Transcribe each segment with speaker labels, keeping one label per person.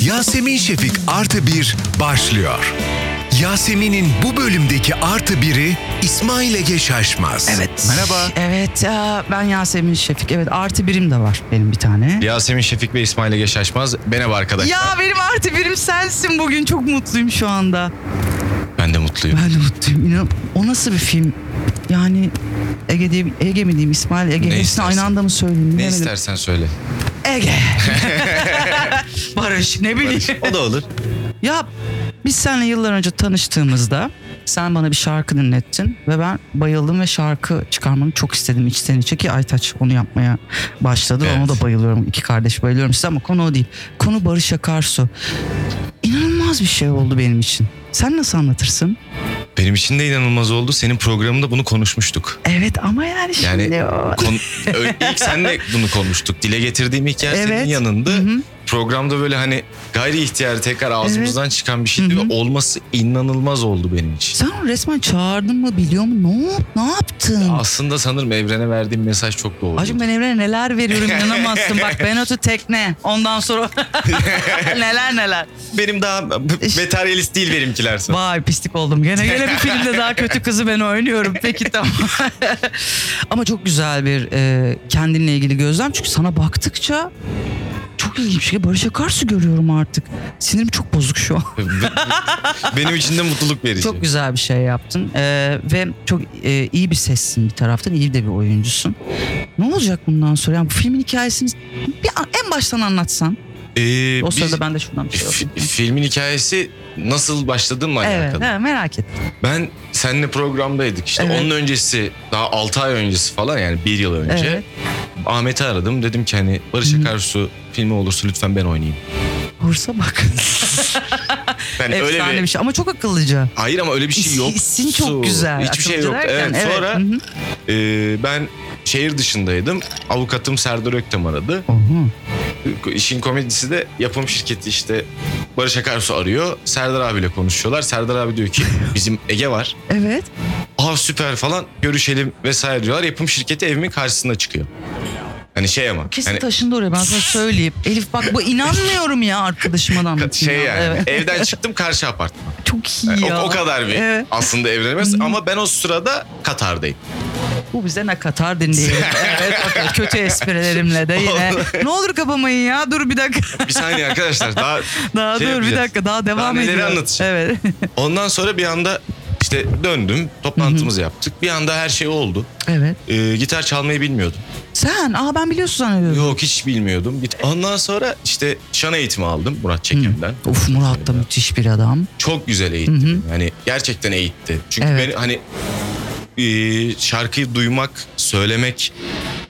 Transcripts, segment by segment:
Speaker 1: Yasemin Şefik Artı Bir başlıyor. Yasemin'in bu bölümdeki artı biri İsmail Ege Şaşmaz. Merhaba.
Speaker 2: Evet aa, ben Yasemin Şefik. Evet artı birim de var benim bir tane.
Speaker 3: Yasemin Şefik ve İsmail Ege Şaşmaz. Merhaba arkadaşlar.
Speaker 2: Ya benim artı birim sensin bugün. Çok mutluyum şu anda.
Speaker 3: Ben de mutluyum.
Speaker 2: Ben de mutluyum. İnan, o nasıl bir film? Yani Ege, diye, Ege mi diyeyim İsmail Ege?
Speaker 3: Ne
Speaker 2: Hepsini
Speaker 3: istersen.
Speaker 2: aynı anda mı söyleyeyim?
Speaker 3: Ne
Speaker 2: Bilemedim.
Speaker 3: istersen söyle.
Speaker 2: Ege. Barış ne bileyim.
Speaker 3: O da olur.
Speaker 2: Ya biz seninle yıllar önce tanıştığımızda sen bana bir şarkı dinlettin ve ben bayıldım ve şarkı çıkarmanı çok istedim içten içe ki Aytaç onu yapmaya başladı.
Speaker 3: Evet.
Speaker 2: Ona da bayılıyorum. iki kardeş bayılıyorum size ama konu o değil. Konu Barış Akarsu. İnanılmaz bir şey oldu benim için. Sen nasıl anlatırsın?
Speaker 3: Benim için de inanılmaz oldu. Senin programında bunu konuşmuştuk.
Speaker 2: Evet ama yani şimdi
Speaker 3: Yani
Speaker 2: o-
Speaker 3: kon- Ö- ilk senle bunu konuştuk. Dile getirdiğim hikaye
Speaker 2: Evet.
Speaker 3: senin yanında.
Speaker 2: Hı hı.
Speaker 3: Programda böyle hani gayri ihtiyar tekrar ağzımızdan çıkan bir şeydi
Speaker 2: Hı hı.
Speaker 3: ve olması inanılmaz oldu benim için.
Speaker 2: Sen onu resmen çağırdın mı biliyor musun? Ne, yap- ne yaptın?
Speaker 3: Aslında sanırım evrene verdiğim mesaj çok doğru.
Speaker 2: Hacım ben evrene neler veriyorum inanamazsın. Bak Benatu tekne. Ondan sonra neler neler.
Speaker 3: Benim daha
Speaker 2: İşte-
Speaker 3: materyalist değil benimkiler.
Speaker 2: Vay pislik oldum gene. Gene bir filmde daha kötü kızı ben oynuyorum. Peki tamam. Ama çok güzel bir e, kendinle ilgili gözlem. Çünkü sana baktıkça çok ilginç bir şey. Barış Akarsu görüyorum artık. Sinirim çok bozuk şu an.
Speaker 3: benim için de mutluluk verici.
Speaker 2: Çok güzel bir şey yaptın. E, ve çok e, iyi bir sessin bir taraftan. iyi de bir oyuncusun. Ne olacak bundan sonra? Yani bu filmin hikayesini bir an- en baştan anlatsan.
Speaker 3: Ee,
Speaker 2: O
Speaker 3: biz-
Speaker 2: sırada ben de şundan bir şey
Speaker 3: Fi-
Speaker 2: olsun.
Speaker 3: filmin hikayesi nasıl başladığımla
Speaker 2: Evet,
Speaker 3: alakalı.
Speaker 2: evet, merak et.
Speaker 3: Ben seninle programdaydık işte.
Speaker 2: Evet.
Speaker 3: Onun öncesi daha 6 ay öncesi falan yani bir yıl önce.
Speaker 2: Evet.
Speaker 3: Ahmet'i aradım. Dedim ki hani Barış Akarsu filmi olursa lütfen ben oynayayım.
Speaker 2: Bursa bak.
Speaker 3: Ben öyle
Speaker 2: Efsane
Speaker 3: bir...
Speaker 2: bir şey ama çok akıllıca.
Speaker 3: Hayır ama öyle bir şey
Speaker 2: İsim-
Speaker 3: yok.
Speaker 2: isim çok güzel.
Speaker 3: Hiçbir şey yok.
Speaker 2: Akıllıca
Speaker 3: Evet,
Speaker 2: derken, evet,
Speaker 3: Sonra
Speaker 2: hı hı.
Speaker 3: e, ben şehir dışındaydım. Avukatım Serdar Öktem aradı.
Speaker 2: Oha.
Speaker 3: İşin komedisi de yapım şirketi işte Barış Akarsu arıyor. Serdar abiyle konuşuyorlar. Serdar abi diyor ki bizim Ege var.
Speaker 2: Evet.
Speaker 3: Aa süper falan görüşelim vesaire diyorlar. Yapım şirketi evimin karşısına çıkıyor. Hani şey ama.
Speaker 2: Kesin
Speaker 3: hani
Speaker 2: taşındı oraya ben sana söyleyeyim. Elif bak bu inanmıyorum ya arkadaşıma da anlatayım
Speaker 3: şey
Speaker 2: ya.
Speaker 3: yani
Speaker 2: Evet.
Speaker 3: evden çıktım karşı apartman.
Speaker 2: Çok iyi ya.
Speaker 3: O, o kadar bir
Speaker 2: Evet.
Speaker 3: aslında evlenemez ama ben o sırada Katar'dayım.
Speaker 2: Bu bize ne katar dinleyelim. evet bak kötü esprilerimle de yine. ne olur kapamayın ya dur bir dakika.
Speaker 3: Bir saniye arkadaşlar daha
Speaker 2: Daha
Speaker 3: şey
Speaker 2: dur bir
Speaker 3: yapacağız.
Speaker 2: dakika daha devam
Speaker 3: neleri
Speaker 2: ediyor.
Speaker 3: anlatacağım?
Speaker 2: Evet.
Speaker 3: Ondan sonra bir anda işte döndüm toplantımızı yaptık. Bir anda her şey oldu.
Speaker 2: evet.
Speaker 3: Ee, gitar çalmayı bilmiyordum.
Speaker 2: Sen aa ben biliyorsun zannediyorum.
Speaker 3: Yok hiç bilmiyordum. Git- Ondan sonra işte şan eğitimi aldım Murat Çekim'den.
Speaker 2: Of Murat da müthiş bir adam.
Speaker 3: çok güzel eğitti.
Speaker 2: Hı
Speaker 3: beni. Yani gerçekten eğitti. Çünkü
Speaker 2: Evet.
Speaker 3: beni hani e, şarkıyı duymak, söylemek,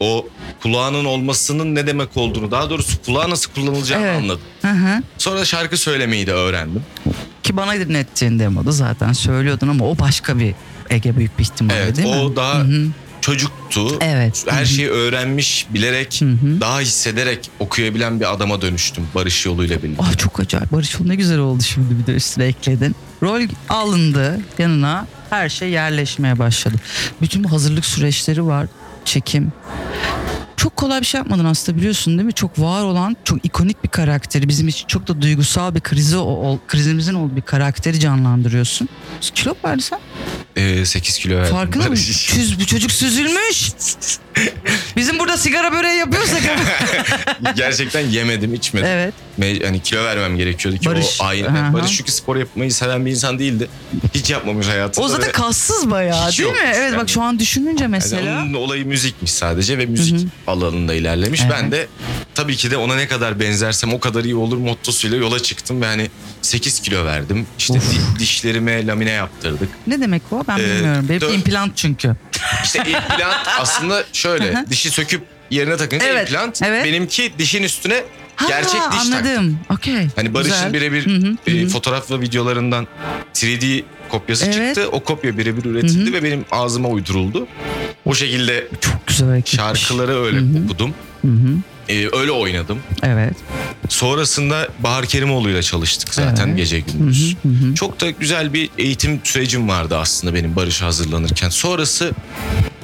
Speaker 3: o kulağının olmasının ne demek olduğunu, daha doğrusu kulağı nasıl kullanılacağını
Speaker 2: Evet.
Speaker 3: anladım.
Speaker 2: Hı hı.
Speaker 3: Sonra şarkı söylemeyi de öğrendim.
Speaker 2: Ki bana dinlettiğin demoda zaten söylüyordun ama o başka bir Ege büyük bir ihtimalle
Speaker 3: Evet,
Speaker 2: değil
Speaker 3: o
Speaker 2: mi?
Speaker 3: daha
Speaker 2: Hı hı.
Speaker 3: çocuktu.
Speaker 2: Evet.
Speaker 3: Her
Speaker 2: Hı hı.
Speaker 3: şeyi öğrenmiş, bilerek,
Speaker 2: Hı hı.
Speaker 3: daha hissederek okuyabilen bir adama dönüştüm Barış yoluyla birlikte.
Speaker 2: Ah çok acayip. Barış o ne güzel oldu şimdi bir de üstüne ekledin. Rol alındı yanına her şey yerleşmeye başladı. Bütün bu hazırlık süreçleri var. Çekim. Çok kolay bir şey yapmadın aslında biliyorsun değil mi? Çok var olan, çok ikonik bir karakteri, bizim için çok da duygusal bir krizi o- ol, krizimizin olduğu bir karakteri canlandırıyorsun. Kilo verdi sen.
Speaker 3: Ee, 8 kilo verdim
Speaker 2: Farkında mısın?
Speaker 3: Barış.
Speaker 2: Çüz, bu çocuk süzülmüş. Bizim burada sigara böreği yapıyorsak.
Speaker 3: Gerçekten yemedim, içmedim.
Speaker 2: evet.
Speaker 3: Me- hani kilo vermem gerekiyordu ki
Speaker 2: Barış,
Speaker 3: o aynı.
Speaker 2: aha.
Speaker 3: Barış çünkü spor yapmayı seven bir insan değildi. Hiç yapmamış hayatında.
Speaker 2: O zaten
Speaker 3: ve-
Speaker 2: kassız bayağı
Speaker 3: Hiç
Speaker 2: değil mi?
Speaker 3: yokmuş
Speaker 2: Evet
Speaker 3: yani.
Speaker 2: bak şu an düşününce mesela.
Speaker 3: yani onun olayı müzikmiş sadece ve müzik
Speaker 2: Hı hı.
Speaker 3: alanında ilerlemiş.
Speaker 2: Evet.
Speaker 3: Ben de tabii ki de ona ne kadar benzersem o kadar iyi olur mottosuyla yola çıktım ve hani 8 kilo verdim. İşte
Speaker 2: Of.
Speaker 3: di- dişlerime lamine yaptırdık.
Speaker 2: Ne demek o? Ben
Speaker 3: Ee,
Speaker 2: bilmiyorum. Benim
Speaker 3: dö-
Speaker 2: implant çünkü.
Speaker 3: İşte implant aslında şöyle
Speaker 2: Hı hı.
Speaker 3: dişi söküp yerine takınca
Speaker 2: Evet,
Speaker 3: implant
Speaker 2: evet.
Speaker 3: benimki dişin üstüne
Speaker 2: Ha,
Speaker 3: gerçek diş taktı.
Speaker 2: anladım. Okey.
Speaker 3: Hani Barış'ın
Speaker 2: Güzel.
Speaker 3: birebir
Speaker 2: Hı hı,
Speaker 3: e,
Speaker 2: hı hı.
Speaker 3: fotoğraf ve videolarından 3D kopyası
Speaker 2: Evet.
Speaker 3: çıktı. O kopya birebir üretildi ve benim ağzıma uyduruldu. O şekilde
Speaker 2: Çok güzel hareketmiş.
Speaker 3: şarkıları öyle
Speaker 2: Hı hı.
Speaker 3: okudum.
Speaker 2: Hı hı.
Speaker 3: E, öyle oynadım.
Speaker 2: Evet.
Speaker 3: Sonrasında Bahar Kerimoğlu'yla çalıştık zaten
Speaker 2: Evet.
Speaker 3: gece
Speaker 2: Hı
Speaker 3: gündüz.
Speaker 2: hı, hı hı.
Speaker 3: Çok da güzel bir eğitim sürecim vardı aslında benim Barış'a hazırlanırken. Sonrası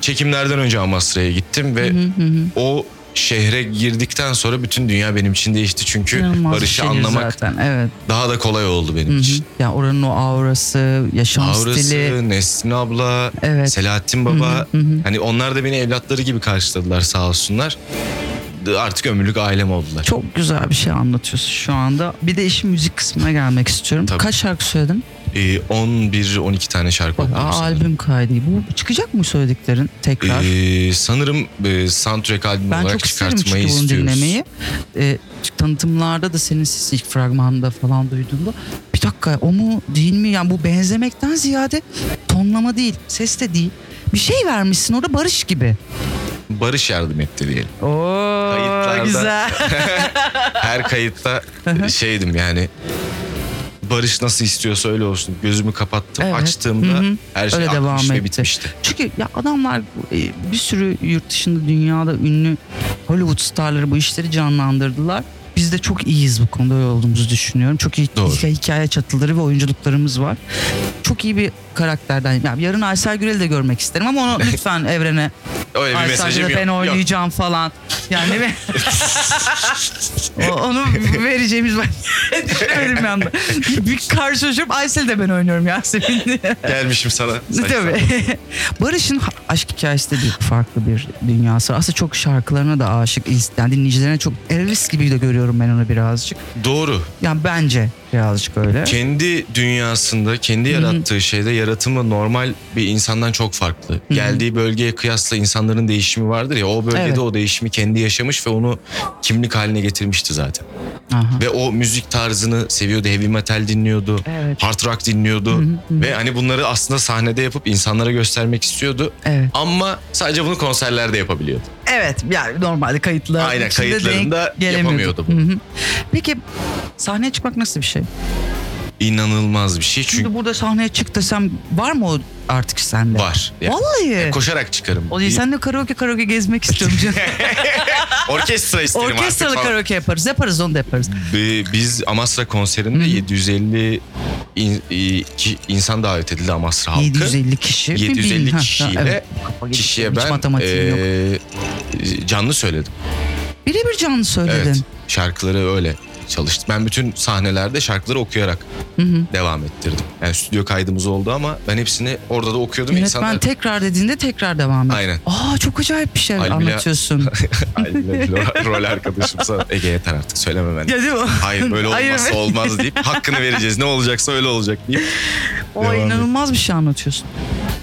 Speaker 3: çekimlerden önce Amasra'ya gittim ve
Speaker 2: Hı hı hı.
Speaker 3: o şehre girdikten sonra bütün dünya benim için değişti. Çünkü
Speaker 2: İnanılmaz bir şey
Speaker 3: Barış'ı
Speaker 2: şehir
Speaker 3: anlamak
Speaker 2: zaten. Evet.
Speaker 3: daha da kolay oldu benim
Speaker 2: Hı hı.
Speaker 3: için.
Speaker 2: Yani oranın o aurası, yaşam stili.
Speaker 3: Avrası, Nesrin abla,
Speaker 2: Evet.
Speaker 3: Selahattin baba. Hani onlar da beni evlatları gibi karşıladılar sağ olsunlar. Artık ömürlük ailem oldular.
Speaker 2: Çok güzel bir şey anlatıyorsun şu anda. Bir de işin müzik kısmına gelmek istiyorum.
Speaker 3: Tabii.
Speaker 2: Kaç şarkı söyledin?
Speaker 3: Ee, 11-12 tane şarkı
Speaker 2: Bak,
Speaker 3: okudum
Speaker 2: aa,
Speaker 3: sanırım.
Speaker 2: albüm kaydı. Bu çıkacak mı söylediklerin tekrar?
Speaker 3: Ee, sanırım e, soundtrack albüm
Speaker 2: ben
Speaker 3: olarak
Speaker 2: çok isterim çünkü bunu
Speaker 3: çıkartmayı istiyoruz.
Speaker 2: dinlemeyi. Ee, tanıtımlarda da senin sesi ilk fragmanda falan duyduğumda bir dakika o mu değil mi? Yani bu benzemekten ziyade tonlama değil, ses de değil. Bir şey vermişsin orada barış gibi.
Speaker 3: Barış yardım etti diyelim.
Speaker 2: Oo
Speaker 3: Kayıtlarda.
Speaker 2: güzel.
Speaker 3: Her kayıtta e, şeydim yani Barış nasıl istiyorsa öyle olsun. Gözümü kapattım,
Speaker 2: Evet. Hı
Speaker 3: açtığımda
Speaker 2: hı.
Speaker 3: her şey
Speaker 2: Öyle
Speaker 3: akmış
Speaker 2: devam
Speaker 3: ve
Speaker 2: etti.
Speaker 3: bitmişti.
Speaker 2: Çünkü ya adamlar e, bir sürü yurt dışında dünyada ünlü Hollywood starları bu işleri canlandırdılar. Biz de çok iyiyiz bu konuda öyle olduğumuzu düşünüyorum. Çok iyi
Speaker 3: Doğru.
Speaker 2: hikaye, hikaye çatıları ve oyunculuklarımız var. Çok iyi bir karakterden. Ya yarın Aysel Gürel'i de görmek isterim ama onu lütfen evrene
Speaker 3: Öyle bir
Speaker 2: Aysel
Speaker 3: mesajım
Speaker 2: Gürel
Speaker 3: yok.
Speaker 2: ben
Speaker 3: Yok.
Speaker 2: oynayacağım falan. Yani ve O- onu vereceğimiz ben düşünemedim bir anda. Bir, bir karşılaşıp Aysel de ben oynuyorum Yasemin diye.
Speaker 3: Gelmişim sana.
Speaker 2: Tabii. Barış'ın ha- aşk hikayesi de bir farklı bir dünyası. var. Aslında çok şarkılarına da aşık. ins- Yani dinleyicilerine çok Elvis gibi de görüyorum ben onu birazcık.
Speaker 3: Doğru.
Speaker 2: Yani bence birazcık öyle.
Speaker 3: Kendi dünyasında, kendi yarattığı şeyde yaratımı normal bir insandan çok farklı. Geldiği bölgeye kıyasla insanların değişimi vardır ya. O bölgede
Speaker 2: Evet.
Speaker 3: o değişimi kendi yaşamış ve onu kimlik haline getirmişti zaten.
Speaker 2: Aha.
Speaker 3: Ve o müzik tarzını seviyordu. Heavy metal dinliyordu.
Speaker 2: Evet.
Speaker 3: Hard rock dinliyordu. Ve hani bunları aslında sahnede yapıp insanlara göstermek istiyordu.
Speaker 2: Evet.
Speaker 3: Ama sadece bunu konserlerde yapabiliyordu.
Speaker 2: Evet yani normalde kayıtlar
Speaker 3: Aynen,
Speaker 2: içinde denk
Speaker 3: kayıtlarında
Speaker 2: gelemiyordu.
Speaker 3: yapamıyordu bunu.
Speaker 2: Hı hı. Peki sahneye çıkmak nasıl bir şey?
Speaker 3: İnanılmaz bir şey.
Speaker 2: Şimdi
Speaker 3: Çünkü
Speaker 2: burada sahneye çık desem var mı o artık sende?
Speaker 3: var. Yani
Speaker 2: Vallahi.
Speaker 3: E, koşarak çıkarım.
Speaker 2: E, o değil, sen de karaoke karaoke gezmek istiyorum canım.
Speaker 3: Orkestra isterim artık
Speaker 2: Orkestralı
Speaker 3: falan.
Speaker 2: karaoke yaparız. Yaparız onu da yaparız.
Speaker 3: Bi- Biz Amasra konserinde 750 in- i- ki- insan davet edildi Amasra halkı.
Speaker 2: 750 kişi. mi
Speaker 3: 750
Speaker 2: bilin- Ha, ha,
Speaker 3: kişiyle
Speaker 2: evet. Kafa gitti.
Speaker 3: kişiye
Speaker 2: Hiç
Speaker 3: ben
Speaker 2: matematiğim yok.
Speaker 3: e, canlı söyledim.
Speaker 2: Birebir canlı söyledin.
Speaker 3: Evet. Şarkıları öyle çalıştım. Ben bütün sahnelerde şarkıları okuyarak devam ettirdim. Yani stüdyo kaydımız oldu ama ben hepsini orada da okuyordum.
Speaker 2: Yönetmen
Speaker 3: İnsanlar
Speaker 2: tekrar dediğinde tekrar devam et.
Speaker 3: Aynen.
Speaker 2: Aa çok acayip bir şey
Speaker 3: Halbuki-
Speaker 2: anlatıyorsun.
Speaker 3: Ay, rol- rol arkadaşım sana. Ege yeter artık söyleme ben.
Speaker 2: ya değil mi?
Speaker 3: Hayır böyle
Speaker 2: Hayır,
Speaker 3: olmazsa
Speaker 2: be.
Speaker 3: olmaz deyip hakkını vereceğiz. Ne olacaksa öyle olacak deyip.
Speaker 2: O
Speaker 3: Devam et.
Speaker 2: inanılmaz bir şey anlatıyorsun.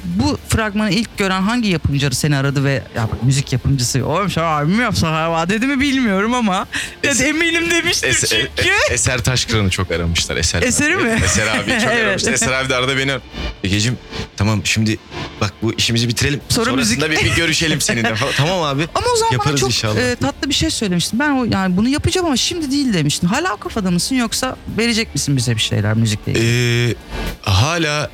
Speaker 2: Bu fragmanı ilk gören hangi yapımcı seni aradı ve ya bak, müzik yapımcısı oğlum şu albüm yapsa hava dedi mi bilmiyorum ama ya, da eminim demiştim
Speaker 3: Es- e-
Speaker 2: çünkü.
Speaker 3: e- Eser Taşkıran'ı çok aramışlar. Eser
Speaker 2: Eseri
Speaker 3: abi.
Speaker 2: mi?
Speaker 3: Eser abi çok
Speaker 2: Evet.
Speaker 3: aramışlar. Eser abi de arada beni arar. Egeciğim tamam şimdi bak bu işimizi bitirelim.
Speaker 2: Sonra
Speaker 3: Sonrasında bir, bir görüşelim seninle falan. Tamam abi.
Speaker 2: ama o zaman bana
Speaker 3: Yaparız
Speaker 2: çok
Speaker 3: inşallah.
Speaker 2: e, tatlı bir şey söylemiştin. Ben o yani bunu yapacağım ama şimdi değil demiştin. Hala o kafada mısın yoksa verecek misin bize bir şeyler müzikle ilgili?
Speaker 3: Ee, hala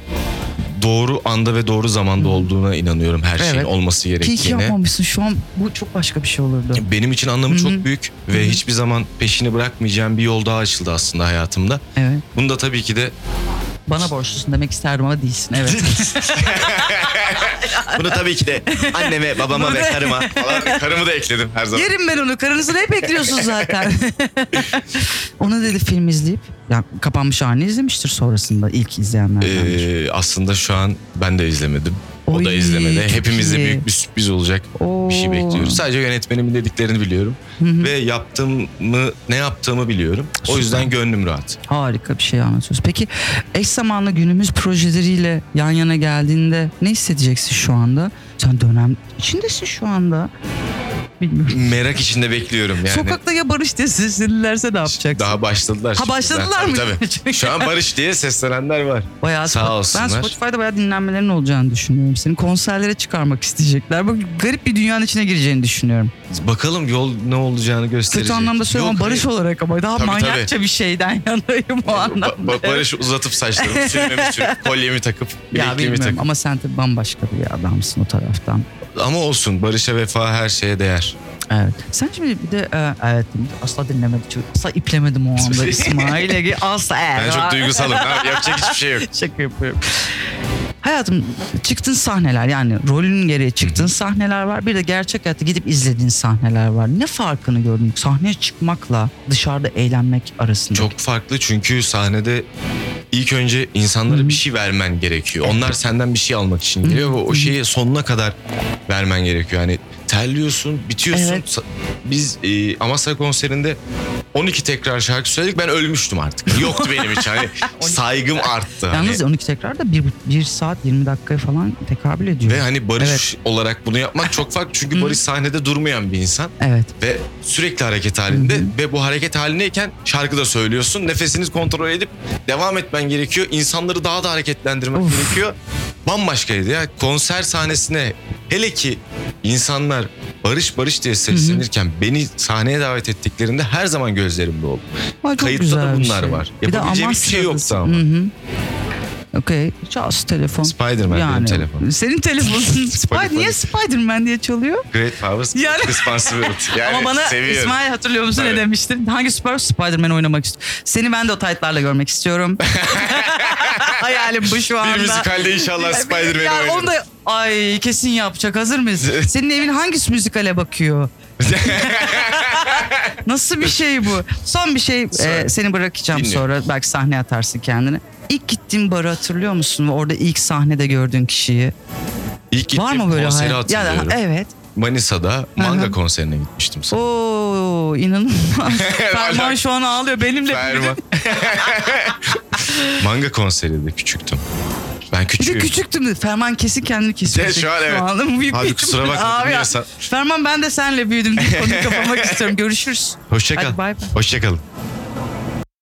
Speaker 3: doğru anda ve doğru zamanda olduğuna inanıyorum her şeyin
Speaker 2: Evet.
Speaker 3: olması
Speaker 2: Ki hiç
Speaker 3: gerektiğine.
Speaker 2: yapmamışsın şu an bu çok başka bir şey olurdu.
Speaker 3: Benim için anlamı
Speaker 2: Hı hı.
Speaker 3: çok büyük ve hiçbir zaman peşini bırakmayacağım bir yol daha açıldı aslında hayatımda.
Speaker 2: Evet.
Speaker 3: Bunu da tabii ki de
Speaker 2: Bana borçlusun demek isterdim ama değilsin. Evet.
Speaker 3: bunu tabii ki de anneme, babama ve karıma falan karımı da ekledim her zaman.
Speaker 2: Yerim ben onu. Karınızı hep bekliyorsun zaten. Onu dedi film izleyip yani kapanmış halini izlemiştir sonrasında ilk izleyenlerdendir.
Speaker 3: Ee, aslında şu an ben de izlemedim. o
Speaker 2: Oy,
Speaker 3: da izlemedi.
Speaker 2: çok
Speaker 3: Hepimizde
Speaker 2: iyi.
Speaker 3: büyük bir sürpriz olacak bir şey
Speaker 2: Oo.
Speaker 3: bekliyoruz. Sadece yönetmenimin dediklerini biliyorum. Ve yaptığımı, ne yaptığımı biliyorum. O yüzden gönlüm rahat.
Speaker 2: Harika bir şey anlatıyorsun. Peki eş zamanlı günümüz projeleriyle yan yana geldiğinde ne hissedeceksin şu anda? Sen dönem içindesin şu anda. Bilmiyorum.
Speaker 3: Merak içinde bekliyorum yani.
Speaker 2: Sokakta ya Barış diye seslenirlerse ne yapacaksın?
Speaker 3: Daha başladılar.
Speaker 2: Ha,
Speaker 3: şimdiden.
Speaker 2: başladılar
Speaker 3: Tabii,
Speaker 2: mı?
Speaker 3: Tabii,
Speaker 2: Çünkü-
Speaker 3: Şu an Barış diye seslenenler var.
Speaker 2: Bayağı
Speaker 3: Sağ
Speaker 2: Spot-
Speaker 3: olsunlar.
Speaker 2: Ben Spotify'da bayağı dinlenmelerin olacağını düşünüyorum. Seni konserlere çıkarmak isteyecekler. Bak garip bir dünyanın içine gireceğini düşünüyorum.
Speaker 3: Bakalım yol ne olacağını gösterecek.
Speaker 2: Kötü anlamda söylüyorum
Speaker 3: Yok,
Speaker 2: ama barış
Speaker 3: hayır.
Speaker 2: olarak ama daha
Speaker 3: Tabii,
Speaker 2: manyakça bir şeyden yanayım o
Speaker 3: Ba-
Speaker 2: anlamda.
Speaker 3: ba- Barış uzatıp saçlarımı sürmemi sürüp kolyemi takıp
Speaker 2: ya
Speaker 3: bilekliğimi
Speaker 2: bilmiyorum
Speaker 3: takıp.
Speaker 2: ama sen tabii bambaşka bir adamsın o taraftan.
Speaker 3: Ama olsun Barış'a vefa her şeye değer.
Speaker 2: Evet. Sen şimdi bir de e, evet asla dinlemedim. Çok- Asla iplemedim o anda İsmail Ege. Asla.
Speaker 3: Ben çok duygusalım. abi, Yapacak hiçbir şey yok.
Speaker 2: Şaka yapıyorum. Hayatım çıktığın sahneler yani rolünün gereği çıktığın sahneler var. Bir de gerçek hayatta gidip izlediğin sahneler var. Ne farkını gördün sahneye çıkmakla dışarıda eğlenmek arasında?
Speaker 3: Çok farklı çünkü sahnede ilk önce insanlara bir şey vermen gerekiyor. Onlar senden bir şey almak için geliyor ve o şeyi sonuna kadar vermen gerekiyor. Yani terliyorsun, bitiyorsun.
Speaker 2: Evet.
Speaker 3: Sa- Biz e, Amasya konserinde 12 tekrar şarkı söyledik. Ben ölmüştüm artık. Yoktu benim için. Hani saygım arttı. Hani-
Speaker 2: Yalnız 12 tekrar da 1, saat 20 dakikaya falan tekabül ediyor.
Speaker 3: Ve hani Barış olarak bunu yapmak çok farklı. Çünkü Barış sahnede durmayan bir insan.
Speaker 2: Evet.
Speaker 3: ve sürekli hareket halinde ve bu hareket halindeyken şarkı da söylüyorsun. Nefesiniz kontrol edip devam etmen gerekiyor. İnsanları daha da hareketlendirmek
Speaker 2: Of.
Speaker 3: gerekiyor. Bambaşkaydı ya. Konser sahnesine hele ki insanlar Barış Barış diye seslenirken beni sahneye davet ettiklerinde her zaman gözlerimde oldu.
Speaker 2: Ama çok
Speaker 3: Kayıtta da
Speaker 2: güzel bir
Speaker 3: bunlar
Speaker 2: şey.
Speaker 3: var.
Speaker 2: Bir de
Speaker 3: Yapabileceğim hiçbir şey yoktu ama.
Speaker 2: Hı hı. Okey. Çaz telefon.
Speaker 3: Spider-Man benim telefonum.
Speaker 2: Senin telefonun. Spider
Speaker 3: Spider-Man.
Speaker 2: niye Spider-Man diye çalıyor?
Speaker 3: Great powers,
Speaker 2: Yani-
Speaker 3: responsibility. Yani
Speaker 2: Ama bana
Speaker 3: seviyorum.
Speaker 2: İsmail hatırlıyor musun
Speaker 3: Evet.
Speaker 2: ne demiştin? Hangi süper Spider-Man oynamak istiyorsun? Seni ben de o taytlarla görmek istiyorum. Hayalim bu şu anda.
Speaker 3: Bir müzikalde inşallah
Speaker 2: Ya
Speaker 3: Spider-Man
Speaker 2: onu
Speaker 3: oynarım.
Speaker 2: da ay kesin yapacak. Hazır mıyız? Senin evin hangi müzikale bakıyor? Nasıl bir şey bu? Son bir şey
Speaker 3: Söyle.
Speaker 2: e, seni bırakacağım
Speaker 3: Dinliyorum.
Speaker 2: sonra belki sahne atarsın kendini. İlk gittiğin barı hatırlıyor musun? Ve Orada ilk sahnede gördüğün kişiyi.
Speaker 3: İlk gittiğim
Speaker 2: Var mı böyle
Speaker 3: konseri
Speaker 2: hayat- Ya da-
Speaker 3: hatırlıyorum.
Speaker 2: evet.
Speaker 3: Manisa'da manga
Speaker 2: Aha.
Speaker 3: konserine gitmiştim. sanırım.
Speaker 2: Oo inanılmaz. Ferman şu an ağlıyor. Benimle
Speaker 3: Ferman. Manga konserinde küçüktüm. Ben
Speaker 2: Bir de
Speaker 3: küçüğüm.
Speaker 2: küçüktüm dedi. Ferman kesin kendini kesiyor.
Speaker 3: şu an evet.
Speaker 2: Anladın mı?
Speaker 3: Abi
Speaker 2: Büyük
Speaker 3: kusura
Speaker 2: bir-
Speaker 3: bakma,
Speaker 2: Abi ya.
Speaker 3: dinliyorsan.
Speaker 2: Ferman ben de senle büyüdüm diye konuyu kapamak istiyorum. Görüşürüz.
Speaker 3: Hoşça kal.
Speaker 2: Hadi bay bay.
Speaker 3: Hoşça kalın.